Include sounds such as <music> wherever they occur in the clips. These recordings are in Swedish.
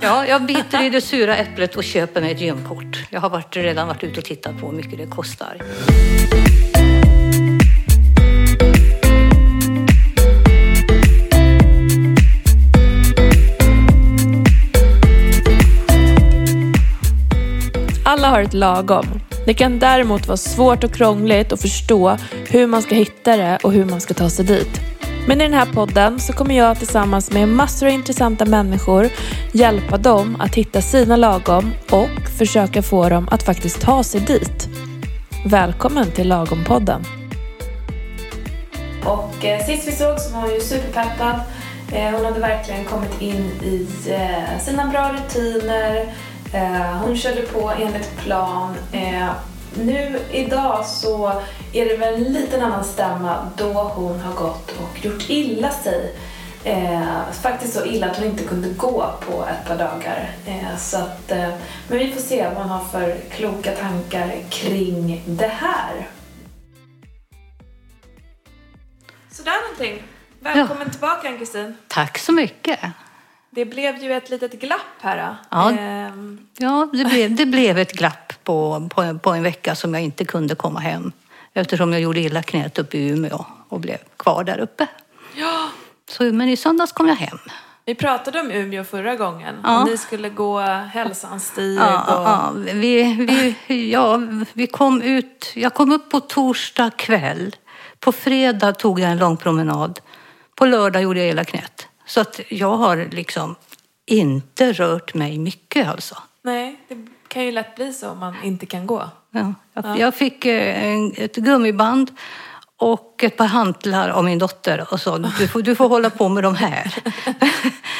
Ja, jag biter i det sura äpplet och köper mig ett gymkort. Jag har varit, redan varit ute och tittat på hur mycket det kostar. Alla har ett lagom. Det kan däremot vara svårt och krångligt att förstå hur man ska hitta det och hur man ska ta sig dit. Men i den här podden så kommer jag tillsammans med massor av intressanta människor hjälpa dem att hitta sina lagom och försöka få dem att faktiskt ta sig dit. Välkommen till Lagom-podden. Och eh, sist vi såg så var hon ju superpeppad. Eh, hon hade verkligen kommit in i eh, sina bra rutiner. Eh, hon körde på enligt plan. Eh, nu idag så är det väl en liten annan stämma då hon har gått och gjort illa sig. Eh, faktiskt så illa att hon inte kunde gå på ett par dagar. Eh, så att, eh, men vi får se vad hon har för kloka tankar kring det här. Sådär någonting. Välkommen tillbaka Ann-Kristin. Tack så mycket. Det blev ju ett litet glapp här. Då. Ja. Ehm, Ja, det blev, det blev ett glapp på, på, en, på en vecka som jag inte kunde komma hem eftersom jag gjorde illa knät uppe i Umeå och blev kvar där uppe. ja. Så, men i söndags kom jag hem. Vi pratade om Umeå förra gången. Ja. Om Ni skulle gå hälsans stig Ja, och... ja, vi, vi, ja, vi kom ut, jag kom upp på torsdag kväll. På fredag tog jag en lång promenad. På lördag gjorde jag illa knät. Så att jag har liksom inte rört mig mycket alltså. Nej, det kan ju lätt bli så om man inte kan gå. Ja, jag, jag fick eh, en, ett gummiband och ett par hantlar av min dotter och sa du får, du får hålla på med de <laughs> här.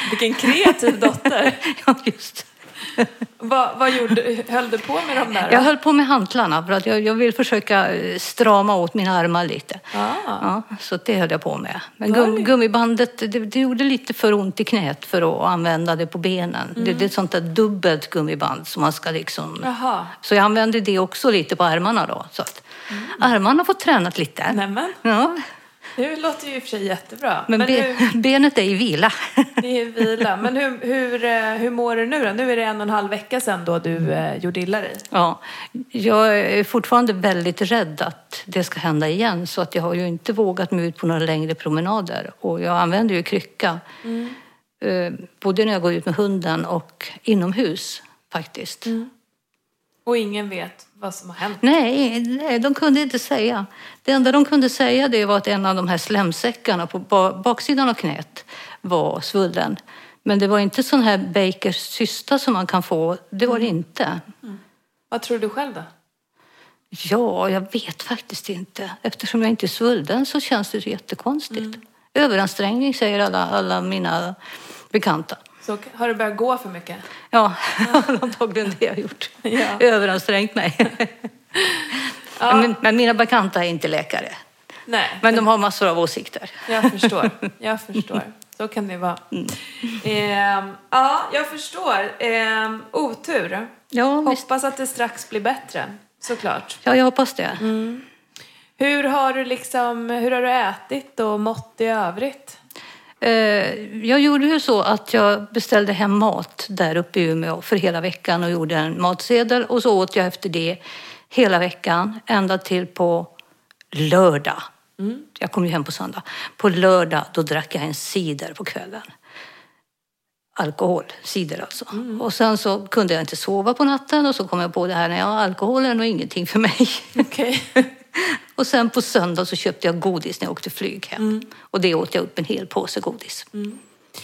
Vilken kreativ dotter! ja, just. vad, vad gjorde, höll du på med de där? Jag höll på med hantlarna för att jag, jag vill försöka eh, strama åt mina armar lite. Ah, Ja, så det höll jag på med. Men Var gum, det? gummibandet, det, det gjorde lite för ont i knät för att använda det på benen. Det, det är ett sånt där dubbelt gummiband som man ska liksom... Jaha. Så jag använde det också lite på armarna då. Så att armarna får tränat lite. Nämen, Ja, nu låter ju i och för sig jättebra. men, be, hur, benet är i <laughs> vila. det är vila. Men hur, hur, eh, hur mår du nu då? Nu är det en och en halv vecka sedan då du eh, gjorde illa dig. Ja, jag är fortfarande väldigt rädd att det ska hända igen så att jag har ju inte vågat mig ut på några längre promenader och jag använder ju krycka. Eh, både när jag går ut med hunden och inomhus faktiskt. Och ingen vet vad som har hänt. Nej, nej, de kunde inte säga. Det enda de kunde säga det var att en av de här slemsäckarna på ba- baksidan av knät var svullen. Men det var inte sån här Bakers cysta som man kan få. Det var det inte. Vad tror du själv då? Ja, jag vet faktiskt inte. Eftersom jag inte är svullen så känns det jättekonstigt. Mm. Överansträngning säger alla, alla mina bekanta. Så, har du börjat gå för mycket? Ja, <laughs> antagligen det jag har gjort. Ja. Överansträngt mig. <laughs> Ja. Men, men mina bekanta är inte läkare. Nej. Men de har massor av åsikter. Jag förstår. Jag förstår. Så kan det vara. Mm. Ehm, ja, jag förstår. Ehm, otur. Ja, visst. Hoppas att det strax blir bättre. Såklart. ja jag hoppas det. Hur har du liksom, hur har du ätit och mått i övrigt? Eh, Jag gjorde ju så att jag beställde hem mat där uppe i Umeå för hela veckan och gjorde en matsedel och så åt jag efter det hela veckan ända till på lördag. Jag kom ju hem på söndag. På lördag då drack jag en cider på kvällen. Alkohol, cider alltså. Och sen så kunde jag inte sova på natten och så kom jag på det här, nej, ja, alkohol är nog ingenting för mig. <laughs> <laughs> Okej. Och sen på söndag så köpte jag godis när jag åkte flyg hem. Mm. Och det åt jag upp en hel påse godis.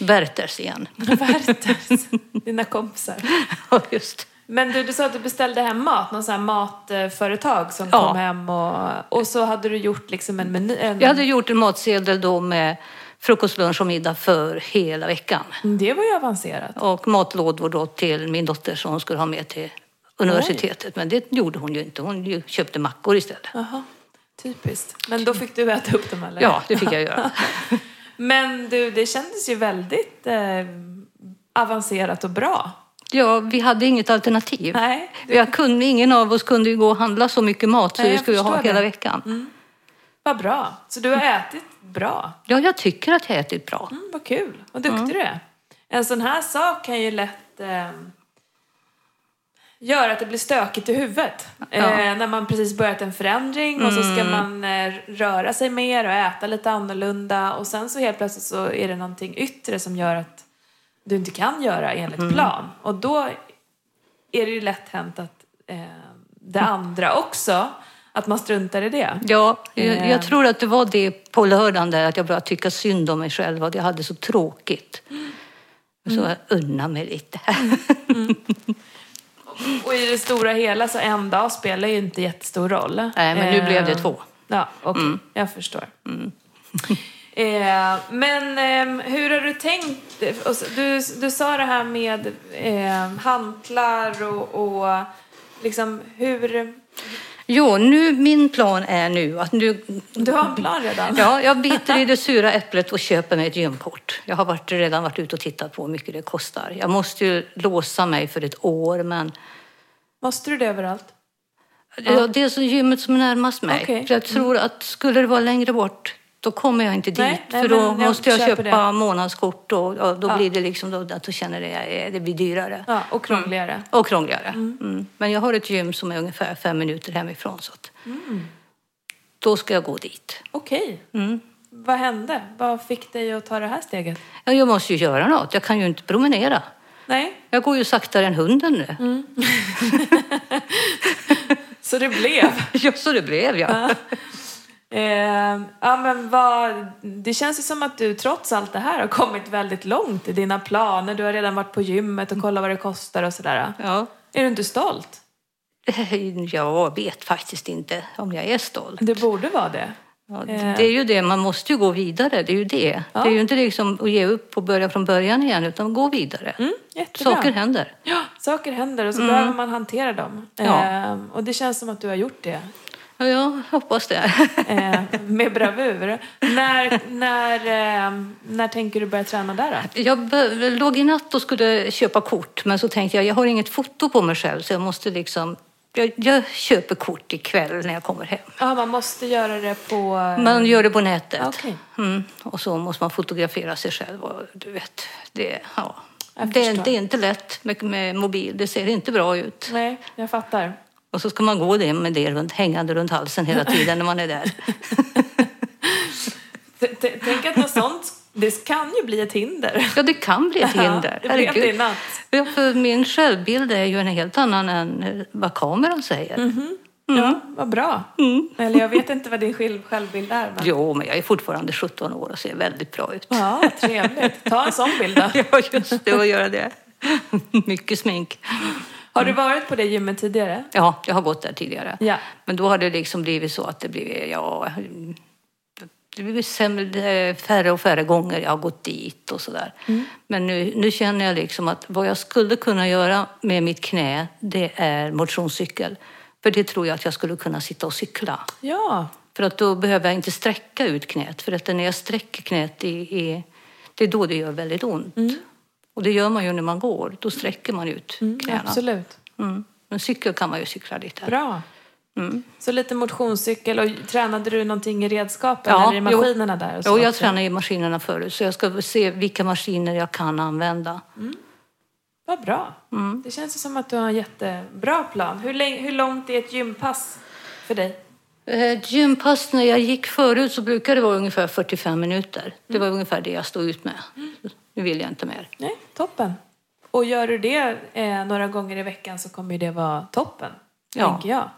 Werthers igen. <laughs> Värters. Dina kompisar. Ja, Just. Men du, du sa att du beställde hem mat, någon sån här matföretag som Ja. kom hem och, och så hade du gjort liksom en meny. En, Jag hade gjort en matsedel då med frukost, lunch och middag för hela veckan. Det var ju avancerat. Och matlådor då till min dotter som hon skulle ha med till universitetet. Men det gjorde hon ju inte. Hon ju köpte mackor istället. Jaha, typiskt. Men då fick du äta upp dem eller? Ja, det fick jag <laughs> göra. Men du, det kändes ju väldigt eh, avancerat och bra. Ja, vi hade inget alternativ. Nej, Jag kunde, ingen av oss kunde ju gå och handla så mycket mat så Nej, vi jag skulle ha förstår hela det. Mm. veckan. vad bra. Så du har ätit bra. Ja, jag tycker att jag ätit bra. Mm, vad kul. Vad duktig du är. En sån här sak kan ju lätt väldigt eh, gör att det blir stökigt i huvudet. Ja. Mm. Eh, när man precis börjat en förändring och så ska man eh, röra sig mer och äta lite annorlunda och sen så helt plötsligt så är det någonting yttre som gör att du inte kan göra enligt Mm. plan. Och då är det ju lätt hänt att eh, det andra också, att man struntar i det. Ja, jag, Eh. jag tror att det var det på lördagen där, att jag började tycka synd om mig själv och att jag hade så tråkigt. Så jag unna mig lite. <laughs> Och i det stora hela så en dag spelar ju inte jättestor roll. Eh, Nej, men nu blev det två. Mm. Ja, okej. Jag förstår. <laughs> eh, men ehm, hur har du tänkt? Och så- Du, du sa det här med eh, hantlar och, och liksom hur... Jo, nu, min plan är nu att nu... Du har en plan redan? Ja, jag biter i det sura äpplet och köper mig ett gymkort. Jag har varit, redan varit ute och tittat på hur mycket det kostar. Jag måste ju låsa mig för ett år, men Måste du det överallt? ja. Alltså, det är så gymmet som är närmast mig. Okej. Mm. För jag tror att skulle det vara längre bort, då kommer jag inte dit. Nej, nej, för då men jag måste jag köper köpa det. månadskort och, och då blir det liksom, då, då känner jag att det blir dyrare. Ja, och krångligare. Och krångligare. Mm. Men jag har ett gym som är ungefär fem minuter hemifrån. Så att Mm. Då ska jag gå dit. Okej. Mm. Vad hände? Vad fick dig att ta det här steget? Ja, Jag måste ju göra något. Jag kan ju inte promenera. Nej, Jag går ju saktare än hunden nu. Mm. så det blev. <laughs> Ja, så det blev jag. Eh, ja, men vad, det känns ju som att du trots allt det här har kommit väldigt långt i dina planer. Du har redan varit på gymmet och kollat vad det kostar och sådär. Ja. <laughs> Är du inte stolt? Jag vet faktiskt inte om jag är stolt. Det borde vara det. Ja, Eh. det är ju det, man måste ju gå vidare. Det är ju det. Det är ju inte liksom att ge upp och börja från början igen, utan gå vidare. Mm, Jättebra. Saker händer. Mm. ja, saker händer och så behöver man hantera dem. Ja. Eh, och det känns som att du har gjort det Ja, jag hoppas det. <laughs> eh, med bravur. när, när, eh, när tänker du börja träna där då? Jag be- låg i natt och skulle köpa kort, men så tänkte jag, jag har inget foto på mig själv, så jag måste liksom... Jag, jag köper kort ikväll när jag kommer hem. Ja, man måste göra det på... Man gör det på nätet. Okej. Mm. Och så måste man fotografera sig själv. Och du vet, det, ja. Jag det, förstår. det är inte lätt med, med mobil. Det ser inte bra ut. Nej, jag fattar. Och så ska man gå det med det runt, hängande runt halsen hela tiden när man är där. T- t- Tänk att något sånt, det kan ju bli ett hinder. Ja, det kan bli ett hinder. Ja, det blev det i natt. Ja, för min självbild är ju en helt annan än vad kameran säger. Ja, vad bra. Eller jag vet inte vad din själv- självbild är. Men... Jo, men jag är fortfarande 17 år och ser väldigt bra ut. Ja, trevligt. Ta en sån bild då. <laughs> Ja, just det, och göra det. <laughs> Mycket smink. Har du varit på det gymmet tidigare? Ja, jag har gått där tidigare. Ja. Men då har det liksom blivit så att det blivit, ja, det blivit sämre, färre och färre gånger jag har gått dit och sådär. Mm. Men nu, nu känner jag liksom att vad jag skulle kunna göra med mitt knä, det är motionscykel. För det tror jag att jag skulle kunna sitta och cykla. Ja. För att då behöver jag inte sträcka ut knät. För att när jag sträcker knät, i, i, det är då det gör väldigt ont. Mm. Och det gör man ju när man går. Då sträcker man ut knäna. Absolut. Mm. Men cykel kan man ju cykla lite. Bra. Så lite motionscykel och tränade du någonting i redskapen Ja, eller i maskinerna där? Och så Jo, jag också? tränar i maskinerna förut, så jag ska väl se vilka maskiner jag kan använda. Vad bra. Det känns ju som att du har en jättebra plan. Hur, länge, hur långt är ett gympass för dig? Eh, Gympass, när jag gick förut så brukade det vara ungefär 45 minuter. Det var ungefär det jag stod ut med. Nu vill jag inte mer. Nej, toppen. Och gör du det eh, några gånger i veckan så kommer ju det vara toppen, Ja. tänker jag.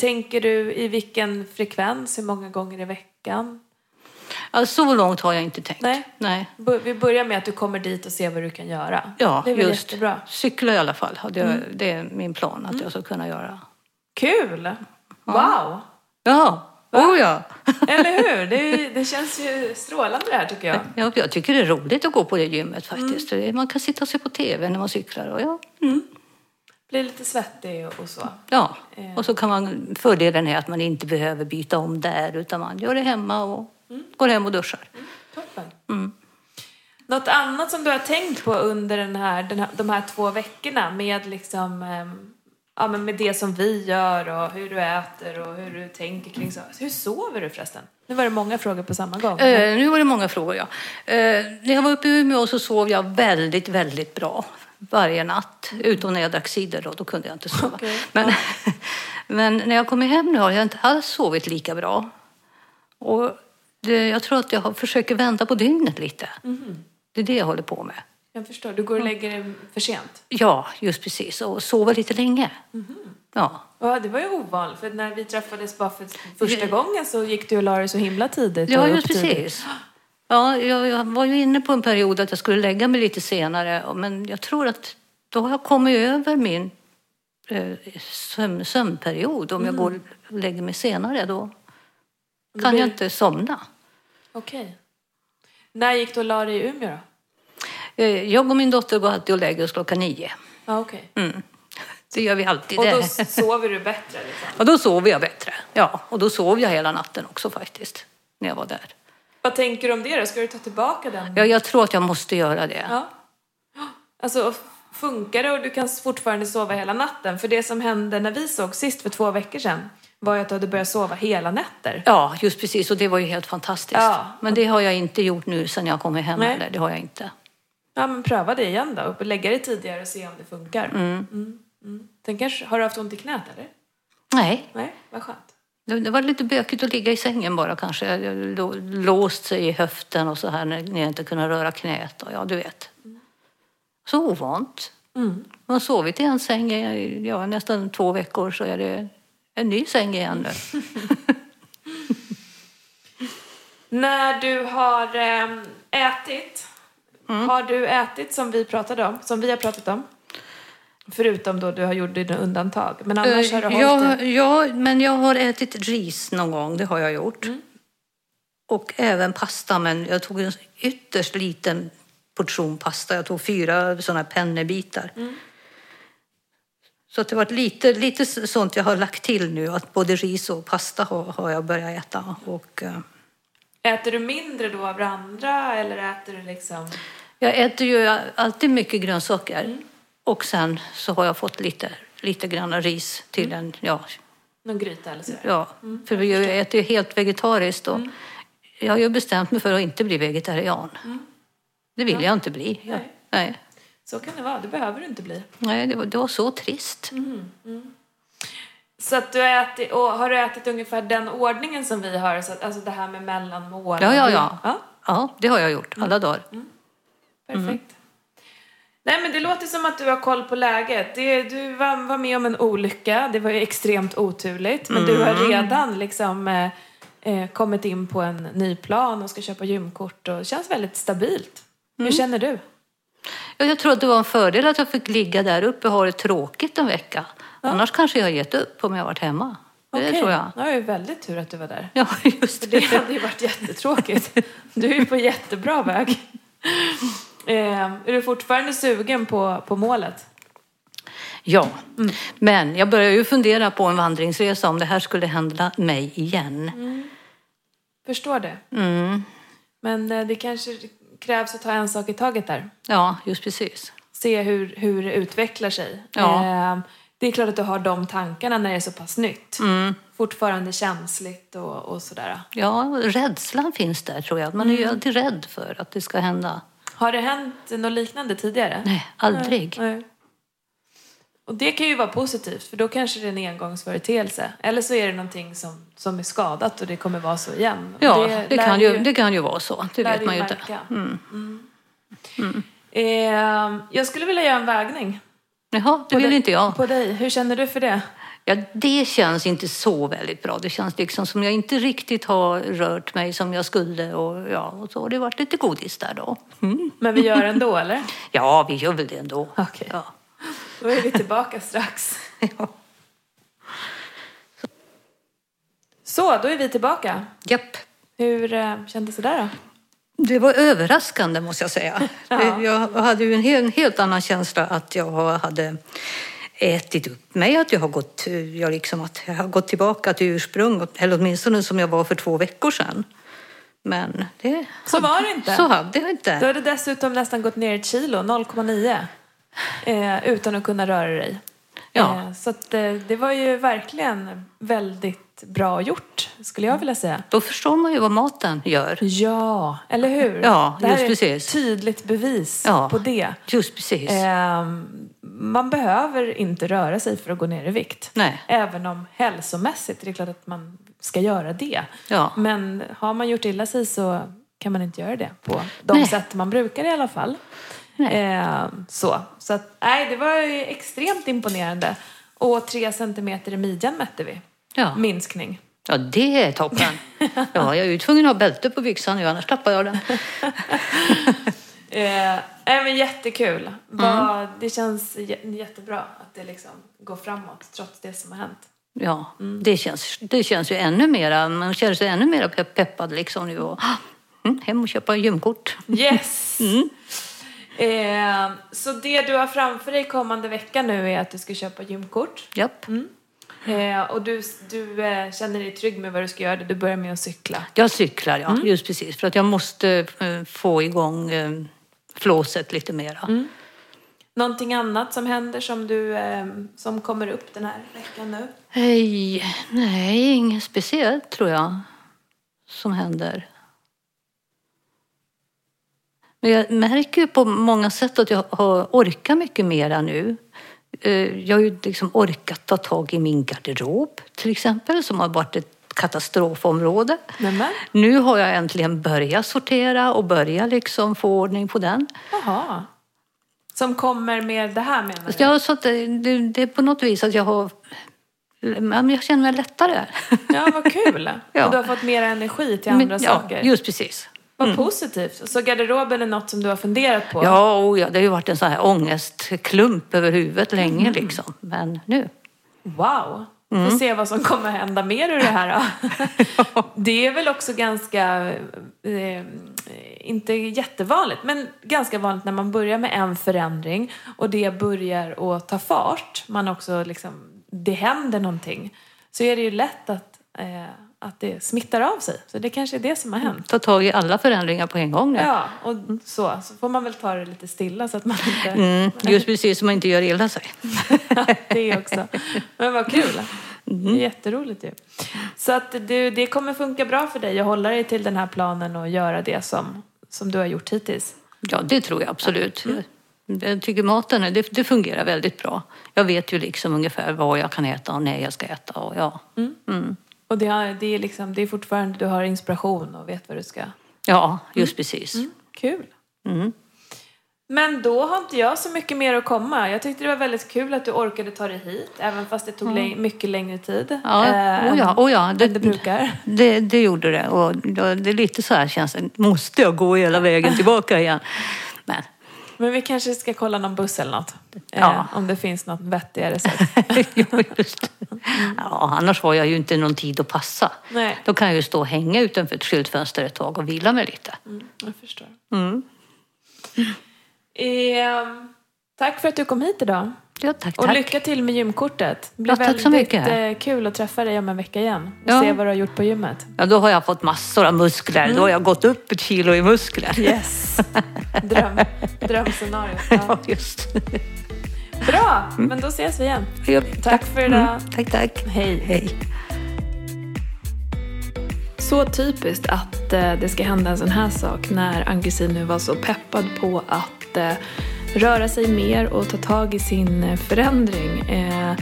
Tänker du i vilken frekvens, hur många gånger i veckan? Ja, Alltså, så långt har jag inte tänkt. Nej. Nej. Bu- Vi börjar med att du kommer dit och ser vad du kan göra. Ja, det är väl just. jättebra. Mm. Cykla i alla fall, hade jag, det är min plan att jag ska kunna göra. Kul! Wow! Ja, oh ja. Eller hur? Det, är- det känns ju strålande det här tycker jag. ja! Jag tycker det är roligt att gå på det gymmet Mm. faktiskt. Det är- Man kan sitta och se på tv när man cyklar. Och ja. Blir lite svettig och- och så. Ja, och så kan man, fördelen är att man inte behöver byta om där utan man gör det hemma och går hem och duschar. Toppen. Mm. Något annat som du har tänkt på under den här, den här, de här två veckorna med liksom, ehm, ja, men med det som vi gör och hur du äter och hur du tänker kring så. Hur sover du förresten? Nu var det många frågor på samma gång. Eh, nu var det många frågor, ja. Eh, när jag var uppe i Umeå så sov jag väldigt, väldigt bra varje natt. Utom när jag drack cider, då, då kunde jag inte sova. Okej. Men, <laughs> men när jag kommer hem nu har jag inte alls sovit lika bra. Och det, jag tror att jag har- försöker vända på dygnet lite. Det är det jag håller på med. Jag förstår, du Mm. går och lägger dig för sent. Ja, just precis. Och sova lite länge. Ja. Ja, det var ju ovanligt, för när vi träffades bara för första gången så gick du och la dig så himla tidigt. Mm. Ja, och just upp tidigt. precis. Ja, jag, jag var ju inne på en period att jag skulle lägga mig lite senare, men jag tror att då har jag kommit över min eh, sömn, sömnperiod. Om jag går och lägger mig senare då kan blir- jag inte somna. Okej. När gick du och la dig i Umeå då? Eh, Jag och min dotter går alltid och lägger oss klockan nio. Ja, okej. Mm. Det gör vi alltid. <laughs> Och då Det- sover du bättre liksom? och då sover jag bättre. Ja, och då sov jag hela natten också faktiskt, när jag var där. Vad tänker du om det då? Ska du ta tillbaka den? Jag, jag tror att jag måste göra det. Ja. Alltså, funkar det och du kan fortfarande sova hela natten? För det som hände när vi såg sist för två veckor sedan var ju att du hade börjat sova hela nätter. Ja, just precis. Och det var ju helt fantastiskt. Ja. Men det har jag inte gjort nu sen jag kom hem. Nej. Eller, det har jag inte. Ja, men pröva det igen då. Och lägga det tidigare och se om det funkar. Mm, mm. Sen kanske, har du haft ont i knät eller? Nej, Nej, vad skönt. det, det var lite bökigt att ligga i sängen bara kanske. Jag- jag lå- Låst sig i höften och så här när när jag inte kunde röra knät. Och, ja, du vet. Så ovant. Mm. Man har sovit i en säng i ja, nästan två veckor så är det en ny säng igen nu. När du har ehm, ätit, har du ätit som vi pratade om? Som vi har pratat om? Förutom då du har gjort dina undantag. Men annars Eh, har du hållit det. Eh, jag, ja, men jag har ätit ris någon gång, det har jag gjort. Mm. Och även pasta, men jag tog en ytterst liten portion pasta. Jag tog fyra sådana pennebitar. Mm. Så att det var lite, lite sånt jag har lagt till nu, att både ris och pasta har, har jag börjat äta. Och, eh, Äter du mindre då av det andra eller äter du liksom... jag äter ju alltid mycket grönsaker. Mm. Och sen så har jag fått lite, lite granna ris till Mm. en ja, Någon gryta eller sådär. Ja, för vi gör ju- äter ju helt vegetariskt. Och Mm. Jag har ju bestämt mig för att inte bli vegetarian. Det vill jag inte bli. Ja. Mm. Nej. Nej. Så kan det vara, det behöver du inte bli. Nej, det var, det var så trist. Mm. Så att du äter, och har du ätit ungefär den ordningen som vi har? Så att, alltså det här med mellanmål? Ja, ja, ja. ja Mm. Ja, det har jag gjort alla dagar. perfekt. Mm. Nej men det låter som att du har koll på läget. Det, du var, var med om en olycka, det var ju extremt oturligt. Men du har Mm. redan liksom eh, eh, kommit in på en ny plan och ska köpa gymkort och det känns väldigt stabilt. Mm. Hur känner du? Ja, jag tror att det var en fördel att jag fick ligga där uppe och ha det tråkigt en vecka. Annars kanske jag har gett upp om jag varit hemma. Det Okej. tror jag. Ja, Det var ju väldigt tur att du var där. Ja, <laughs> just Det det. hade ju varit jättetråkigt. Du är ju på jättebra väg. Eh, är du fortfarande sugen på, på målet? Ja, Mm. men jag börjar ju fundera på en vandringsresa om det här skulle hända mig igen. Mm. Förstår det. Men eh, det kanske krävs att ta en sak i taget där. Ja, just precis. Se hur, hur det utvecklar sig. Ja. Eh, det är klart att du har de tankarna när det är så pass nytt. Fortfarande känsligt och, och sådär. Ja, rädslan finns där tror jag. Man är ju Mm. alltid rädd för att det ska hända. Har det hänt något liknande tidigare? Nej, aldrig. Nej. Och det kan ju vara positivt för då kanske det är en engångsföreteelse. Eller så är det någonting som, som är skadat och det kommer vara så igen. Och Ja, det, lär kan vi ju, det kan ju vara så. Det lär vet vi man ju inte. märka. Mm. Eh, jag skulle vilja göra en vägning. Jaha, det vill dig- inte jag. På dig. Hur känner du för det? Ja, det känns inte så väldigt bra. Det känns liksom som jag inte riktigt har rört mig som jag skulle. Och, ja, och så har det varit lite godis där då. Mm. Men vi gör <laughs> ändå, eller? Ja, vi gör väl det ändå. Okej. Ja. <laughs> Då är vi tillbaka strax. Ja. Så, då är vi tillbaka. Japp. Hur eh, kändes det där då? Det var överraskande måste jag säga. <laughs> Ja. Jag hade ju en, hel, en helt annan känsla att jag har- hade ätit upp mig, att jag har gått, jag liksom, att jag har gått tillbaka till ursprung, eller åtminstone som jag var för två veckor sedan. Men det, Så var det inte. så hade jag Du inte. hade dessutom nästan gått ner ett kilo, 0,9. Eh, utan att kunna röra dig. Ja. Eh, Så att, eh, det var ju verkligen väldigt bra gjort, skulle jag vilja säga. Då förstår man ju vad maten gör. Ja, eller hur? Ja, det här just är precis. ett tydligt bevis Ja. på det. Just precis. Ehm, man behöver inte röra sig för att gå ner i vikt. Nej. Även om hälsomässigt, det är klart att man ska göra det. Ja. Men har man gjort illa sig så kan man inte göra det på de Nej. sätt man brukar i alla fall. Nej. Ehm, så. så att, nej, det var ju extremt imponerande. Och tre centimeter i midjan mätte vi. Ja. Minskning. ja, det är toppen. <laughs> Ja, jag är ju tvungen att ha bälte på byxan nu, annars tappar jag den. Eh, nej, men jättekul. Mm. Vad- det känns jä- jättebra att det liksom går framåt trots det som har hänt. Ja, det, känns, det känns ju ännu mera, man känner sig ännu mera pe- peppad liksom nu. Och, ah, mm, hem och köpa gymkort. <laughs> Yes! Mm. Eh, så det du har framför dig kommande vecka nu är att du ska köpa gymkort. Japp. Eh, och du, du eh, känner dig trygg med vad du ska göra. Du börjar med att cykla. Jag cyklar, ja. Just precis. För att jag måste eh, få igång eh, flåset lite mera. Någonting annat som händer som, du, eh, som kommer upp den här veckan nu? Hej, nej, inget speciellt tror jag som händer. Men jag märker ju på många sätt att jag har orkat mycket mera nu. Eh, Jag har ju liksom orkat ta tag i min garderob till exempel, som har varit ett katastrofområde. Nämen. Nu har jag äntligen börjat sortera och börjat liksom få ordning på den. Jaha. Som kommer med det här menar du? Ja, så att det, det, det är på något vis att jag har... ja, men Jag känner mig lättare. Ja, <laughs> vad kul! Ja. Och du har fått mer energi till andra Men- ja, saker. Just precis. Vad positivt. Så garderoben är något som du har funderat på? Ja, och ja, det har ju varit en sån här ångestklump över huvudet länge Mm. liksom. Men nu. Wow! Vi får se vad som kommer hända mer ur det här då. Det är väl också ganska, eh, inte jättevanligt, men ganska vanligt när man börjar med en förändring och det börjar att ta fart, man också liksom, det händer någonting, så är det ju lätt att, eh, att det smittar av sig. Så det kanske är det som har hänt. Ta tag i alla förändringar på en gång nu. Ja, och så, så får man väl ta det lite stilla så att man inte... Mm, just precis, så man inte gör illa sig. det också. Men vad kul. Mm-hmm. Det är jätteroligt ju. Så att du, det kommer funka bra för dig att hålla dig till den här planen och göra det som, som du har gjort hittills. Ja, det tror jag absolut. Mm. Jag tycker maten, är- det, det fungerar väldigt bra. Jag vet ju liksom ungefär vad jag kan äta och när jag ska äta och ja. Och det, har, det, är liksom, det är fortfarande, du har inspiration och vet vad du ska... Ja, just precis. Mm. Kul. Mm-hmm. Men då har inte jag så mycket mer att komma. Jag tyckte det var väldigt kul att du orkade ta dig hit, även fast det tog läng- mycket längre tid. Mm. Ja, eh, oh ja, än- oh ja. än det brukar. Det, det gjorde det. Och då- det är lite så här känns det. Måste jag gå hela vägen tillbaka igen? Men Men vi kanske ska kolla någon buss eller något. Eh, Ja. om det finns något vettigare sätt. <laughs> ja, just det. Mm. ja, annars har jag ju inte någon tid att passa. Nej. Då kan jag ju stå och hänga utanför ett skyltfönster ett tag och vila mig lite. Jag förstår. Mm. Ehm, tack för att du kom hit idag. Ja, tack, Och tack. lycka till med gymkortet. Det blir Ja, tack så väldigt mycket. eh, kul att träffa dig om en vecka igen och Ja. se vad du har gjort på gymmet. Ja, då har jag fått massor av muskler. Då har jag gått upp ett kilo i muskler. Yes! <laughs> Dröm, drömscenario. Ja. <laughs> Ja, Mm. just det. Bra! Men då ses vi igen. Ja, Mm. Tack för idag. Tack, tack. Hej. Hej. Så typiskt att eh, det ska hända en sån här sak när Ann-Kristin nu var så peppad på att eh, röra sig mer och ta tag i sin eh, förändring. Eh,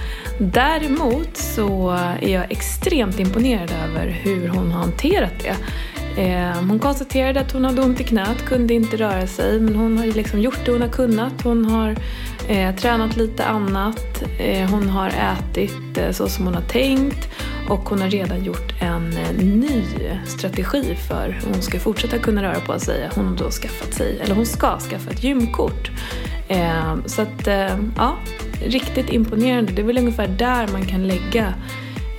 däremot så är jag extremt imponerad över hur hon har hanterat det. Eh, hon konstaterade att hon hade ont i knät, kunde inte röra sig men hon har ju liksom gjort det hon har kunnat. Hon har eh, tränat lite annat, eh, hon har ätit eh, så som hon har tänkt och hon har redan gjort en eh, ny strategi för hur hon ska fortsätta kunna röra på sig. Hon har då skaffat sig, eller hon ska skaffa ett gymkort. Eh, Så att, eh, ja, riktigt imponerande. Det är väl ungefär där man kan lägga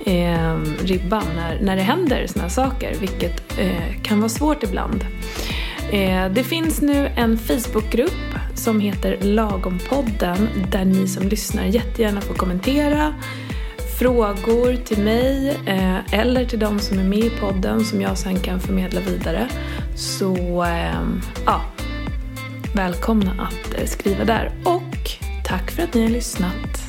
eh, ribban när, när det händer såna här saker, vilket eh, kan vara svårt ibland. Eh, Det finns nu en Facebookgrupp som heter Lagompodden där ni som lyssnar jättegärna får kommentera frågor till mig eh, eller till de som är med i podden som jag sen kan förmedla vidare. Så ehm, ja, välkomna att eh, skriva där och tack för att ni har lyssnat.